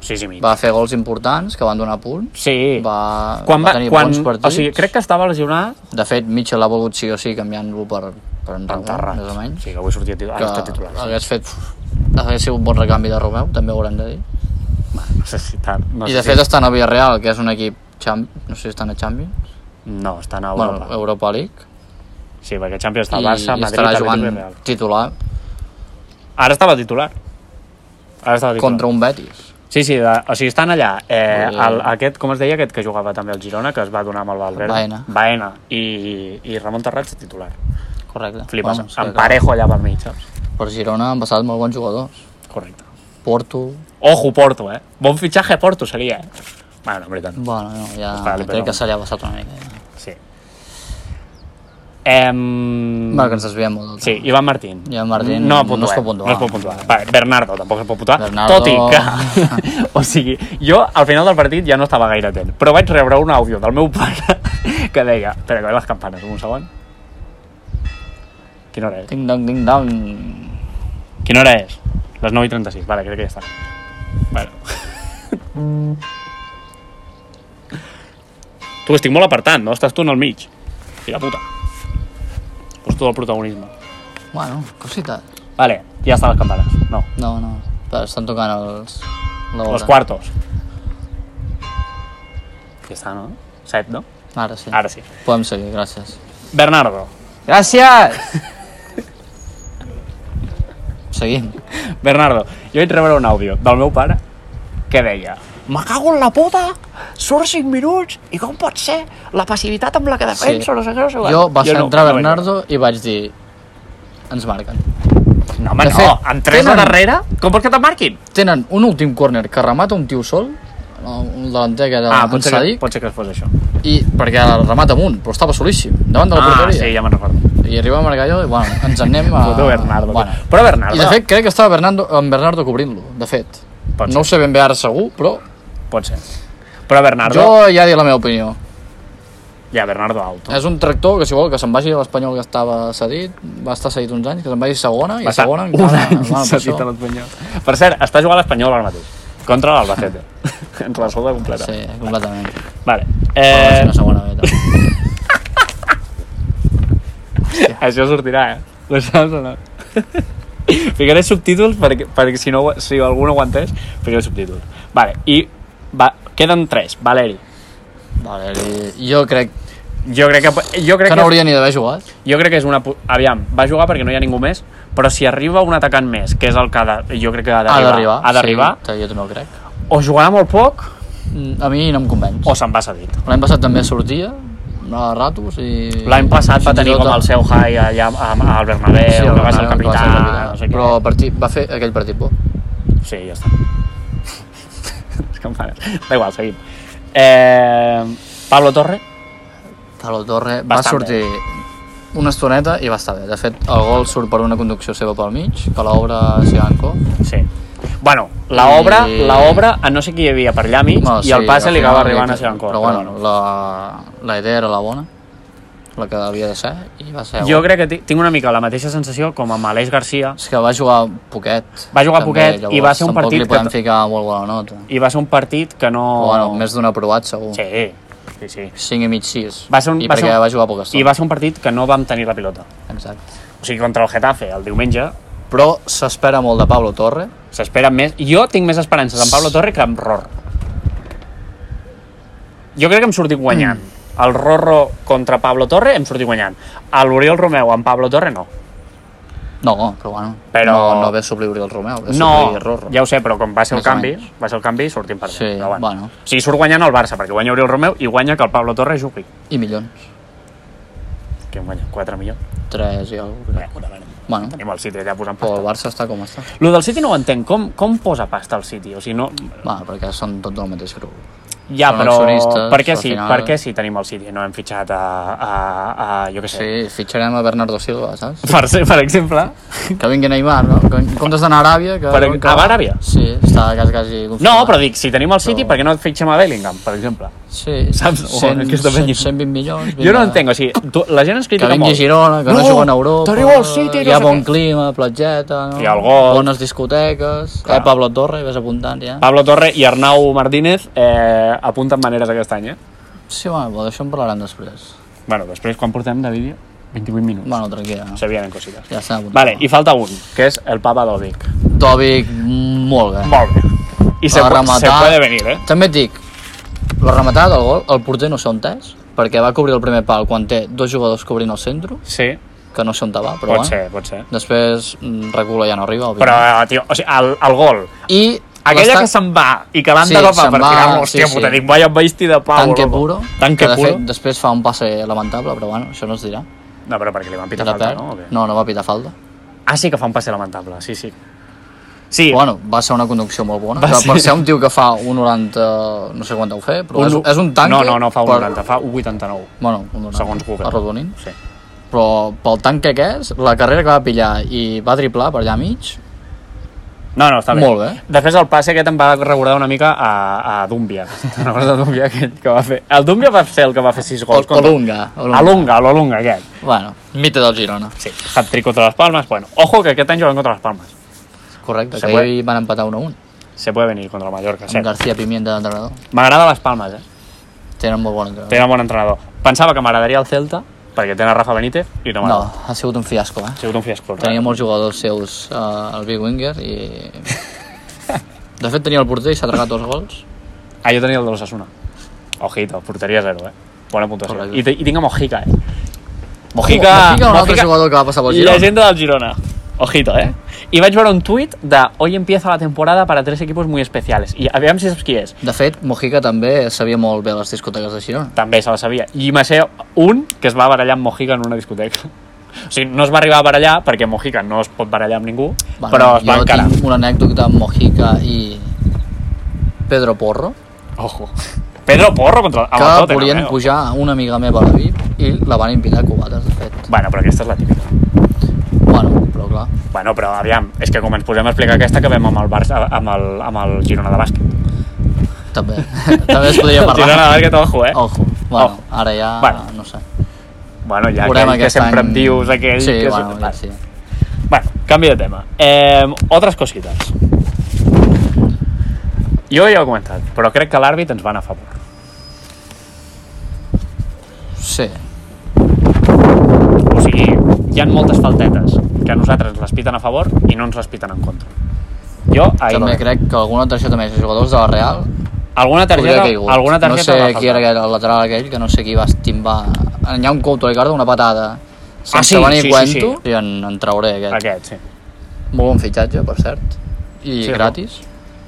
S1: Sí, sí, mig.
S2: Va fer gols importants que van donar punts,
S1: Sí.
S2: va,
S1: Quan
S2: va
S1: va,
S2: tenir
S1: quan,
S2: bons partits.
S1: o sigui, crec que estava lesionat
S2: De fet, Mitchell l'ha volgut sí o sí canviant-lo per, per en Ramon,
S1: enterrat.
S2: més o menys.
S1: Sí, que avui sortia titular. Ara està titular.
S2: que hagués fet hagués sigut un bon recanvi de Romeu, també ho haurem de dir.
S1: Necessitat.
S2: I de fet estan a Villarreal, que és un equip, champ... no sé si estan a Champions,
S1: No, estan a
S2: bueno,
S1: Europa.
S2: Europa League,
S1: Sí, perquè Champions està
S2: i,
S1: al Barça,
S2: i
S1: Madrid,
S2: estarà
S1: Atlètic
S2: jugant
S1: i Real.
S2: titular
S1: Ara estava titular. Ara estava titular.
S2: contra un Betis.
S1: Sí, sí, de, o sigui, estan allà. Eh,
S2: Vull dir-
S1: el, aquest, com es deia, aquest que jugava també al Girona, que es va donar amb el Valverde.
S2: Baena.
S1: Baena. I, i Ramon Terrats titular.
S2: Correcte.
S1: Flipes. Vamos,
S2: Vamos, que
S1: en parejo allà pel mig, saps?
S2: acaba. Per Girona han passat molt bons jugadors.
S1: Correcte.
S2: Porto...
S1: Ojo, Porto, eh? Bon fitxatge Porto seria, eh? Bueno, en veritat.
S2: Bueno, no, ja
S1: Està bé,
S2: crec
S1: però-
S2: que se li ha passat una mica. Ja.
S1: Sí. Em...
S2: Bueno, que Mm. ens desviem molt. del
S1: Sí, Ivan Martín.
S2: Ivan Martín
S1: no,
S2: no
S1: puntuem,
S2: es pot puntuar.
S1: No es pot puntuar. Vale, Bernardo tampoc es pot puntuar.
S2: Bernardo-
S1: Tot i que... (laughs) o sigui, jo al final del partit ja no estava gaire atent, però vaig rebre un àudio del meu pare (laughs) que deia... Espera, que ve les campanes, un segon. Quina hora
S2: tema.
S1: és?
S2: Ding dong, ding dong.
S1: Quina hora és? Les 9 i 36. Vale, crec que ja està. Vale. (laughs) tu, estic molt apartant, no? Estàs tu en el mig. Fira puta. Pues tu del protagonisme.
S2: Bueno, cosita.
S1: Vale, ja estan les campanes. No,
S2: No, no. Però estan tocant els... La hora.
S1: los cuartos. Ja està, no? Set, no?
S2: Ara sí.
S1: Ara sí.
S2: Podem seguir, gràcies.
S1: Bernardo.
S2: Gràcies! Seguim.
S1: Bernardo, jo vaig rebre un àudio del meu pare que deia Me cago en la puta, surt 5 minuts i com pot ser la passivitat amb la que defenso,
S2: Sí.
S1: no sé què, no sé què.
S2: Jo vaig
S1: no,
S2: entrar
S1: no vaig
S2: a
S1: veure.
S2: Bernardo i vaig dir... Ens marquen.
S1: No, home,
S2: De
S1: no,
S2: fet,
S1: amb tres
S2: tenen-
S1: a darrere, com vols que te'n marquin?
S2: Tenen un últim córner que remata un tio sol, un delanter que era ah, en
S1: pot ser, que,
S2: Sadik,
S1: pot ser que fos això.
S2: i perquè el remata amunt, però estava solíssim, davant de la
S1: Ah,
S2: porteria.
S1: sí, ja me'n recordo.
S2: I arriba a marcar jo i bueno, ens en anem a...
S1: Puto Bernardo.
S2: Bueno.
S1: Però Bernardo...
S2: I de fet crec que estava Bernardo, en Bernardo cobrint-lo, de fet.
S1: Pot
S2: no ho sé ben bé ara segur, però
S1: Pot ser. Però Bernardo...
S2: jo ja he dit la meva opinió.
S1: Ja, Bernardo Alto.
S2: És un tractor que, si vol, que se'n vagi a l'Espanyol que estava cedit, va estar cedit uns anys, que se'n vagi a segona, i a
S1: estar
S2: segona
S1: un any cedit a
S2: l'Espanyol.
S1: Per cert, està jugant l'Espanyol ara mateix. Contra
S2: (laughs)
S1: l'Albacete. Ens la solda completa.
S2: Sí, completament.
S1: Vale. Eh,
S2: Eh... Una segona B, també.
S1: Això sortirà, eh? Ho saps o no? (laughs) Ficaré subtítols perquè, perquè si, no, ho- si algú no ho entès, ficaré subtítols. Vale, i va, queden tres. Valeri.
S2: (laughs) Vale, i jo crec
S1: Jo crec que... Jo crec
S2: que no hauria ni d'haver jugat.
S1: Jo crec que és una... pu- Aviam, va jugar perquè no hi ha ningú més, però si arriba un atacant més, que és el que ha de, jo crec que ha
S2: Ha
S1: d'arribar,
S2: d'arribar.
S1: ha d'arribar,
S2: Sí, jo també ho crec.
S1: sí. o jugarà molt poc,
S2: Mm, A mi no em convenç.
S1: o se'n va cedit.
S2: L'any passat també sortia, a ratos, i...
S1: L'any passat va
S2: fins i
S1: tenir
S2: tot
S1: com
S2: a-
S1: el seu high allà amb, al Bernabéu,
S2: Sí,
S1: que va ser el
S2: Bernabéu, que
S1: capità,
S2: capità.
S1: no sé què.
S2: Però partit, va fer aquell partit bo.
S1: Sí, ja està. (laughs) és que em fa... Da igual, seguim. Eh, Pablo Torre,
S2: Pablo Torre va
S1: Bastant
S2: sortir una estoneta i va estar bé. De fet, el gol surt per una conducció seva pel mig, que l'obre Sianco.
S1: sí. Bueno, la obra,
S2: I-
S1: la obra, a no sé qui hi havia per allà mig,
S2: Bueno,
S1: i el passe
S2: al
S1: li
S2: final
S1: acaba arribant a ser
S2: aquest-
S1: en cor.
S2: Però bueno, la, la idea era la bona, la que havia de ser, i va ser...
S1: Jo
S2: gol.
S1: crec que ti- tinc una mica la mateixa sensació com amb Aleix Garcia,
S2: És que va jugar poquet.
S1: Va jugar poquet i
S2: llavors
S1: va ser un
S2: tampoc
S1: partit
S2: li podem
S1: que-
S2: ficar molt bona nota.
S1: i va ser un partit que no...
S2: Oh. Bueno, més d'un aprovat, segur. Sí.
S1: Sí, sí, sí.
S2: 5 i mig, 6.
S1: Va ser un-
S2: I
S1: va ser
S2: perquè
S1: un-
S2: va jugar poca
S1: I
S2: estona.
S1: va ser un partit que no vam tenir la pilota.
S2: Exacte.
S1: O sigui, contra el Getafe, el diumenge,
S2: Però s'espera molt de Pablo Torre.
S1: s'espera més... Jo tinc més esperances en Pablo Torre que en Ror. Jo crec que hem sortit guanyant.
S2: Mm.
S1: El Rorro contra Pablo Torre hem sortit guanyant. A l'Oriol Romeu amb Pablo Torre no.
S2: No, però bueno.
S1: Però-
S2: No, no ve suplir el Romeu, ve
S1: No,
S2: suplir Rorro.
S1: ja ho sé, però com va ser el
S2: Més o
S1: canvi,
S2: menys.
S1: va ser el canvi i sortim perdent.
S2: Sí,
S1: però
S2: bueno.
S1: O sigui, surt guanyant el Barça, perquè guanya Oriol Romeu i guanya que el Pablo Torre jugui.
S2: I milions.
S1: Que guanya 4 milions.
S2: 3 i alguna cosa.
S1: Bé, una merda.
S2: Bueno,
S1: Tenim el City allà posant
S2: però
S1: pasta.
S2: el Barça està com està.
S1: Lo del City no ho entenc. Com, com posa pasta al City? O sigui, no...
S2: Va, perquè són tots del mateix grup.
S1: Ja,
S2: Són
S1: però...
S2: accionistes,
S1: Per què,
S2: al
S1: sí,
S2: final.
S1: per què sí tenim el City? No hem fitxat a... a, a jo què sé.
S2: Sí, fitxarem a Bernardo Silva, saps?
S1: (laughs) Per, ser- per exemple...
S2: Que vingui Neymar, no? Que en comptes d'anar a Aràbia... Que
S1: Per-
S2: diuen que...
S1: a Aràbia?
S2: Sí, està quasi, quasi
S1: No,
S2: confirmat.
S1: però dic, si tenim el City,
S2: Però-
S1: per què no et fitxem a Bellingham, per exemple?
S2: Sí,
S1: Saps? Oh,
S2: 100,
S1: aquesta
S2: 100,
S1: penya.
S2: 120 milions...
S1: Jo no
S2: vinga.
S1: entenc, o sigui, tu, la gent ens
S2: Que
S1: critica
S2: vingui
S1: molt.
S2: a Girona, que no,
S1: No,
S2: juguen a Europa...
S1: t'arriba al City,
S2: Hi ha
S1: no sé
S2: bon
S1: què.
S2: clima, platgeta... No?
S1: Hi ha el golf.
S2: Bones discoteques...
S1: Clar. Ah.
S2: Eh, Pablo Torre, ves apuntant ja.
S1: Pablo Torre i Arnau Martínez eh, apunten maneres aquest any, eh?
S2: Sí, bueno, però d'això en parlarem després.
S1: Bueno, després, quan portem de vídeo? 28 minuts.
S2: Bueno, tranquil·la. No?
S1: Se vienen cositas.
S2: Ja està apuntat.
S1: Vale, i falta un, que és el Papa Dodik.
S2: Tòpic molt bé.
S1: Molt bé. I se,
S2: Per
S1: pu- se
S2: rematar-
S1: puede venir, eh?
S2: També et dic, la rematada del gol, el porter no sé on és, perquè va cobrir el primer pal quan té dos jugadors cobrint el centre,
S1: Sí,
S2: que no sé on va, però eh?
S1: pot
S2: bueno.
S1: ser, pot ser.
S2: Després mm, recula ja no arriba,
S1: Però,
S2: òbviament.
S1: tio, o sigui, el, el gol,
S2: I
S1: aquella
S2: l'estat-
S1: que se'n va i que l'han sí,
S2: Sí,
S1: d'agafar
S2: se'n
S1: per
S2: va,
S1: tirar-lo, hòstia
S2: sí,
S1: sí, puta,
S2: sí.
S1: dic, vaya bestia de pau.
S2: Tanque
S1: loco.
S2: puro,
S1: Tanque
S2: que de
S1: puro.
S2: fet després fa un passe lamentable, però bueno, això no es dirà.
S1: No, però perquè li van pitar
S2: Era
S1: falta,
S2: perd.
S1: no? O què?
S2: no, no va pitar falta.
S1: Ah, sí que fa un passe lamentable, sí, sí. Sí, bueno,
S2: Bueno, va ser una conducció molt bona.
S1: Va
S2: Va
S1: ser-
S2: Per ser un tio que fa un 90... no sé quant deu fer, però és, és un tanque...
S1: No, no, no fa un
S2: per-
S1: 90, fa un 89.
S2: Bueno, un 90,
S1: Segons Google.
S2: arrodonint.
S1: Sí.
S2: Però pel tanque que és, la carrera que va pillar i va driblar per allà mig,
S1: No, no, està bé.
S2: Molt bé.
S1: Després el passe aquest em va recordar una mica a, a Dumbia. (laughs) Te'n recordes de Dumbia aquell que va fer? El Dumbia va ser el que va fer 6 gols. contra-
S2: Olunga. Olunga.
S1: Alunga, l'Olunga aquest.
S2: Bueno, mite del Girona.
S1: Sí, hat-trick contra les Palmes. Bueno, ojo que aquest any juguen contra les Palmes.
S2: Correcte,
S1: Se
S2: que
S1: puede.
S2: ahir van empatar 1 a 1.
S1: Se puede venir contra el Mallorca,
S2: Amb
S1: cert.
S2: García Pimienta d'entrenador.
S1: M'agrada les Palmes, eh?
S2: Tenen molt bon entrenador.
S1: Tenen bon entrenador. Pensava que m'agradaria el Celta, perquè tenen Rafa Benítez, i no
S2: No,
S1: m'agrada.
S2: ha sigut un fiasco,
S1: Ha
S2: eh?
S1: sigut un fiasco. eh?
S2: Tenia molts jugadors seus eh, al Big Winger i... De fet, tenia el porter i s'ha tragat dos gols.
S1: Ah, jo tenia el de l'Osasuna. Ojito, porteria zero, eh? Bona puntuació.
S2: Correcte.
S1: I, te- I tinc a Mojica, eh? Mojica...
S2: Mojica, un altre jugador que va passar pel Girona.
S1: Llegenda del Girona. Ojito, eh? I vaig veure un tuit de Hoy empieza la temporada para tres equipos muy especiales. I aviam si saps qui és.
S2: De fet, Mojica també sabia molt bé les discoteques de Girona.
S1: També se la sabia. I va ser un que es va barallar amb Mojica en una discoteca. O sigui, no es va arribar a barallar perquè Mojica no es pot barallar amb ningú,
S2: Bueno,
S1: però es va
S2: jo
S1: encarar.
S2: tinc una anècdota amb Mojica i Pedro Porro,
S1: Ojo. Pedro Porro contra el,
S2: que
S1: amb el Tottenham,
S2: volien
S1: eh?
S2: pujar una amiga meva a la VIP i la van invitar a cubates, de fet.
S1: Bueno, però aquesta és la típica.
S2: Bueno, però clar,
S1: Bueno, però aviam, és que com ens posem a explicar aquesta, acabem amb el, Barça, amb el, amb el Girona de bàsquet.
S2: també, (laughs) també es podria
S1: El Girona (laughs)
S2: parlar. Oh,
S1: de bàsquet, ojo, eh?
S2: Ojo. Bueno, ara ja...
S1: Bueno.
S2: no sé.
S1: Bueno, ja
S2: Veurem
S1: aquell que
S2: aquest
S1: sempre
S2: any.
S1: em dius aquell...
S2: Sí,
S1: que...
S2: bueno, ja
S1: Va,
S2: sí.
S1: Bueno, canvi de tema. Eh, altres cosites. Jo ja ho he comentat, però crec que l'àrbit ens va anar a favor.
S2: Sí.
S1: O sigui, hi ha moltes faltetes que a nosaltres ens les piten a favor i no ens les piten en contra. Jo ahir
S2: També
S1: no.
S2: crec que alguna targeta més de jugadors de la Real
S1: alguna
S2: hauria
S1: targeta,
S2: caigut.
S1: alguna targeta
S2: no
S1: va
S2: sé qui
S1: faltar.
S2: era aquell, el lateral aquell, que no sé qui va estimbar... Hi ha un Couto Ricardo, una patada. Sense
S1: Ah, sí,
S2: venir
S1: sí, sí,
S2: cuento,
S1: sí.
S2: i en, en trauré aquest.
S1: Aquest, sí.
S2: Molt bon fitxatge, per cert. I
S1: Sí, no?
S2: gratis.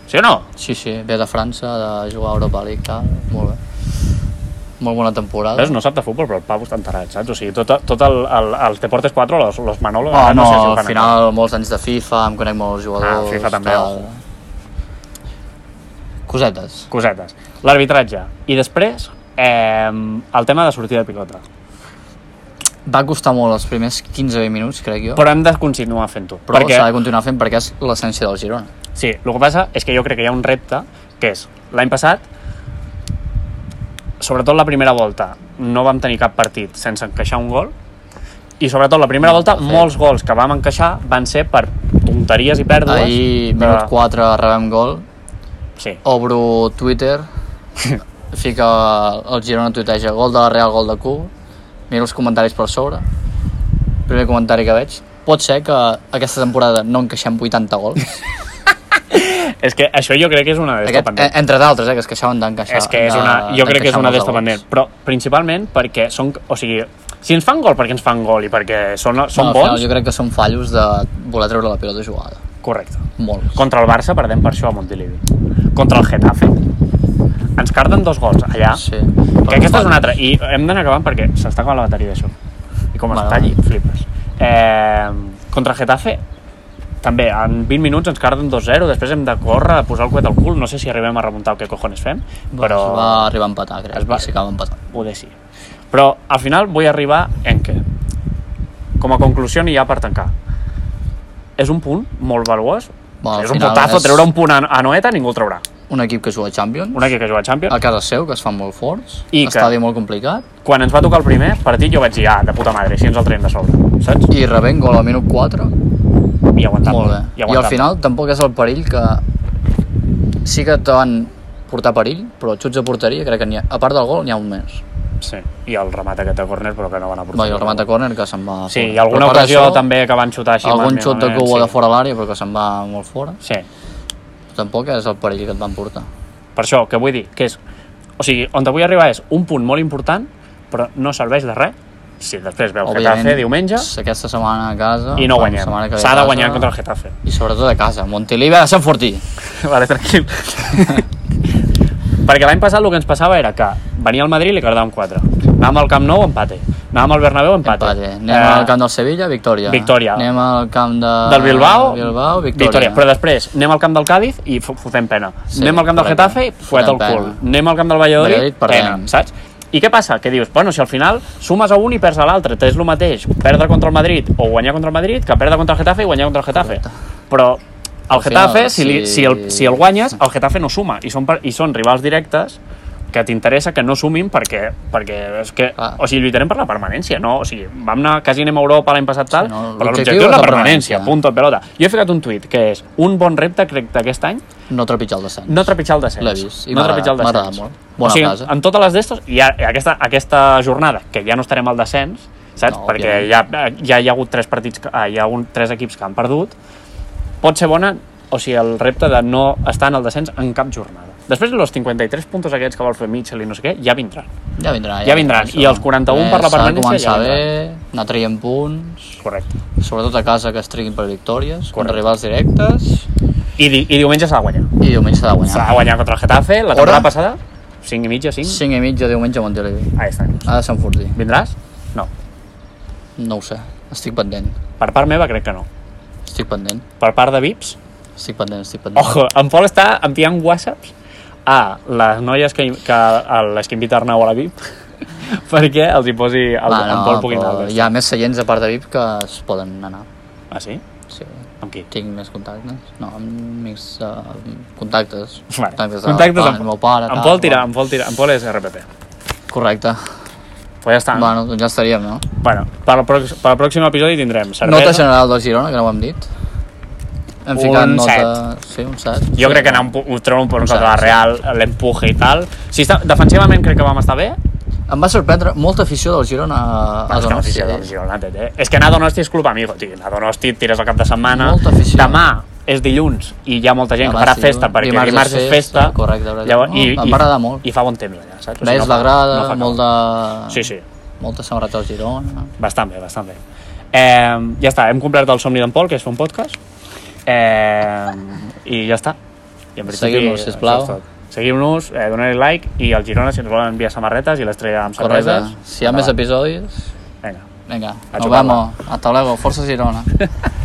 S1: Sí o no?
S2: Sí, sí, ve de França, de jugar a Europa League, tal. Molt bé. Molt bona temporada.
S1: Ves, no sap de futbol, però el Pau està enterat, saps? O sigui, tot, tot el, el, el Te Portes 4, los, los Manolo...
S2: Oh,
S1: ara
S2: no,
S1: sé si ho fan
S2: al final molts anys de FIFA, em conec molts jugadors...
S1: Ah, FIFA també, ojo.
S2: Cosetes.
S1: aquí. Cosetes. L'arbitratge. I després, eh, el tema de sortida de pilota.
S2: Va costar molt els primers 15-20 minuts, crec jo, però,
S1: Però hem de continuar fent-ho.
S2: però
S1: perquè-
S2: s'ha de continuar fent perquè és l'essència del Girona.
S1: Sí, el que passa és que jo crec que hi ha un repte, que és, l'any passat, sobretot la primera volta, no vam tenir cap partit sense encaixar un gol, i sobretot la primera volta,
S2: fet.
S1: molts gols que vam encaixar van ser per tonteries i pèrdues.
S2: Ahir, minut 4, rebem gol,
S1: Sí,
S2: obro Twitter,
S1: (laughs)
S2: fica el Girona tuiteja gol de la Real, gol de Cubo, miro els comentaris per sobre, primer comentari que veig, pot ser que aquesta temporada no encaixem 80 gols,
S1: és que això jo crec que és una d'esta
S2: Aquest,
S1: pendent.
S2: eh, entre d'altres, eh, que es queixaven d'encaixar.
S1: és que és una,
S2: de-
S1: jo crec que és
S2: d'encaixar
S1: una
S2: molts
S1: d'esta
S2: gols.
S1: pendent, però principalment perquè són, o sigui, si ens fan gol perquè ens fan gol i perquè són, són
S2: No, al
S1: bons,
S2: final jo crec que són fallos de voler treure la pilota jugada.
S1: correcte.
S2: Molts.
S1: Contra el Barça perdem per això a Montilivi. Contra el Getafe ens carden dos gols allà.
S2: Sí.
S1: Que aquesta és una altra. I hem d'anar acabant perquè s'està acabant la bateria d'això. I com es
S2: Vale,
S1: talli,
S2: vale.
S1: flipes. Eh, contra el Getafe també, en 20 minuts ens carden 2-0, després hem de córrer, posar el coet al cul, no sé si arribem a remuntar o què cojones fem, però
S2: Es Doncs va arribar a empatar, crec.
S1: Es
S2: Es
S1: va-
S2: va... I s'acaba empatant.
S1: ho de sí. Però al final vull arribar en què? Com a conclusió n'hi ha per tancar. És un punt molt valuós,
S2: Bueno, al
S1: és un
S2: final
S1: putazo,
S2: és-
S1: treure un punt a, a Noeta ningú el traurà.
S2: Un equip que juga a Champions,
S1: un equip que juga a Champions.
S2: a casa seu, que es fan molt forts,
S1: I que-
S2: estadi molt complicat,
S1: Quan ens va tocar el primer partit jo vaig dir, ah, de puta madre, si ens el traiem de sobre, saps?
S2: i rebent gol al minut 4,
S1: I aguantar.
S2: molt bé.
S1: I,
S2: I al
S1: aguantar.
S2: final tampoc és el perill que... Sí que te van portar perill, però xuts de porteria crec que n'hi ha... A part del gol, n'hi ha un més.
S1: Sí. I el remat aquest de córner, però que no van aportar.
S2: Va, i el remat a córner que se'n va...
S1: Sí,
S2: fora.
S1: i alguna
S2: Però a part
S1: ocasió
S2: d'això,
S1: també que van xutar així.
S2: algun
S1: malament,
S2: xut de
S1: malament,
S2: cua
S1: sí.
S2: de fora de l'àrea però que se'n va molt fora
S1: Sí.
S2: tampoc és el perill que et van portar
S1: Per això, que vull dir, que és... O sigui, on te vull arribar és un punt molt important, però no serveix de res si després veus Getafe diumenge
S2: aquesta setmana a casa
S1: i no
S2: la
S1: guanyem.
S2: setmana que ve
S1: S'ha
S2: a
S1: de
S2: casa,
S1: guanyar contra el Getafe. (laughs)
S2: i sobretot a casa Montilivi ha de Sant Fortí
S1: vale, tranquil. (laughs) Perquè l'any passat el que ens passava era que venia al Madrid i li quedàvem 4. Anàvem al Camp Nou, empate. Anàvem al Bernabéu, empate. Eh,
S2: Empate. anem al camp del Sevilla victòria
S1: victòria.
S2: anem al camp de...
S1: del Bilbao,
S2: Bilbao victòria,
S1: Però després anem al camp del Cádiz i fo- fotem pena.
S2: Sí,
S1: anem al camp del
S2: correcte.
S1: Getafe i fuet el
S2: Fotem
S1: cul.
S2: pena.
S1: Anem al camp del Valladolid,
S2: Valladolid, perdem.
S1: pena, saps? I què passa? Que dius, bueno, si al final sumes a un i perds a l'altre, és el mateix perdre contra el Madrid o guanyar contra el Madrid que perdre contra el Getafe i guanyar contra el Getafe. Però el
S2: Al final,
S1: Getafe, si, li,
S2: si-
S1: si, el, si el guanyes, el Getafe no suma i són, per- i són rivals directes que t'interessa que no sumin perquè, perquè és que,
S2: Clar.
S1: o sigui, lluitarem per la permanència, no? O sigui, vam anar, quasi anem a Europa l'any passat tal,
S2: Sí, no,
S1: però l'objectiu
S2: l'objectiu
S1: és
S2: és
S1: la
S2: la
S1: permanència,
S2: permanència.
S1: punt tot pelota. Jo he ficat un tuit que és un bon repte, crec, d'aquest any,
S2: no trepitjar el descens
S1: no trepitjar el descens.
S2: L'he vist, i
S1: no
S2: m'ha
S1: trepitjar el
S2: agradat, m'ha
S1: descens.
S2: agradat molt. Bona
S1: o sigui,
S2: frase.
S1: en totes les d'estos, i a- aquesta, aquesta jornada, que ja no estarem al descens, saps?
S2: No,
S1: Perquè ja, eh, ja hi ha hagut tres partits, que- ah, hi ha un, tres equips que han perdut, pot ser bona, o sigui, el repte de no estar en el descens en cap jornada. Després, els 53 punts aquests que vol fer Mitchell i no sé què, ja vindran.
S2: ja vindran
S1: Ja vindran. I els 41 per la
S2: S'ha de
S1: permanència
S2: començar
S1: ja
S2: bé anar traient punts
S1: Correcte.
S2: sobretot a casa que es triguin per victòries
S1: Correcte.
S2: contra rivals directes
S1: I, di i diumenge s'ha de guanyar.
S2: i diumenge s'ha de guanyar
S1: S'ha de guanyar contra el Getafe, la temporada
S2: Hora?
S1: passada, 5 i mitja, 5.
S2: 5 i mitja diumenge a Montilivi.
S1: Ahí està.
S2: Ha de Sant Fortí.
S1: Vindràs? No.
S2: No ho sé. Estic pendent.
S1: Per part meva crec que no.
S2: Estic pendent.
S1: Per part de Vips,
S2: Estic pendent, estic pendent.
S1: ojo, en Pol està enviant whatsapps a les noies que, que, a les que invita Arnau a la VIP (laughs) perquè els hi posi el,
S2: Va,
S1: en Pol pugui anar
S2: però
S1: al
S2: hi ha més seients a part de VIP que es poden anar.
S1: Ah, sí?
S2: Sí.
S1: Amb qui?
S2: Tinc més contactes. No, amb més uh, contactes.
S1: Vale.
S2: Contactes, del
S1: Contactes
S2: pa,
S1: amb,
S2: el meu pare,
S1: en
S2: tal,
S1: Pol tira,
S2: bueno.
S1: en Pol tira, en Pol és RPP.
S2: Correcte.
S1: Però ja està. Bueno,
S2: Bueno, doncs ja estaríem, no?
S1: bueno per, al pròx- per al pròxim episodi tindrem cervesa.
S2: Nota general del Girona, que no ho hem dit. Hem
S1: Un
S2: ficat nota... Sí, un set.
S1: Jo crec que anar un, pu- un treure un punt contra la
S2: sí.
S1: Real, l'empuje i tal. Si està, defensivament crec que vam estar bé.
S2: Em va sorprendre molta afició del Girona a, a
S1: és que
S2: Donosti.
S1: l'afició del Girona, té, té. És que anar a Donosti és club amigo, tio. Anar a Donosti et tires el cap de setmana.
S2: Molta afició.
S1: Demà és dilluns i hi ha molta gent
S2: Demà
S1: que farà
S2: sí,
S1: festa perquè
S2: dimarts
S1: dimarts,
S2: és
S1: és
S2: festa,
S1: festa.
S2: correcte, correcte.
S1: Llavors,
S2: No,
S1: i,
S2: em
S1: i-
S2: va agradar molt.
S1: I fa bon temps allà, saps? O sigui,
S2: Ves
S1: no fa-
S2: la grada,
S1: no fa calor.
S2: molt de...
S1: Sí, sí.
S2: Molta samarreta al Girona.
S1: Bastant bé, bastant bé. Eh, ja està, hem complert el somni d'en Pol, que és fer un podcast. Eh, I ja està. I en principi,
S2: Seguiu-nos,
S1: això és
S2: sisplau.
S1: tot. Seguiu-nos, eh, doneu like i al Girona si ens volen enviar samarretes i l'estrella amb
S2: Correcte.
S1: cerveses.
S2: Si hi ha més episodis...
S1: Vinga.
S2: Venga,
S1: A
S2: nos
S1: chuparla.
S2: vemos. Hasta luego. Forza Girona.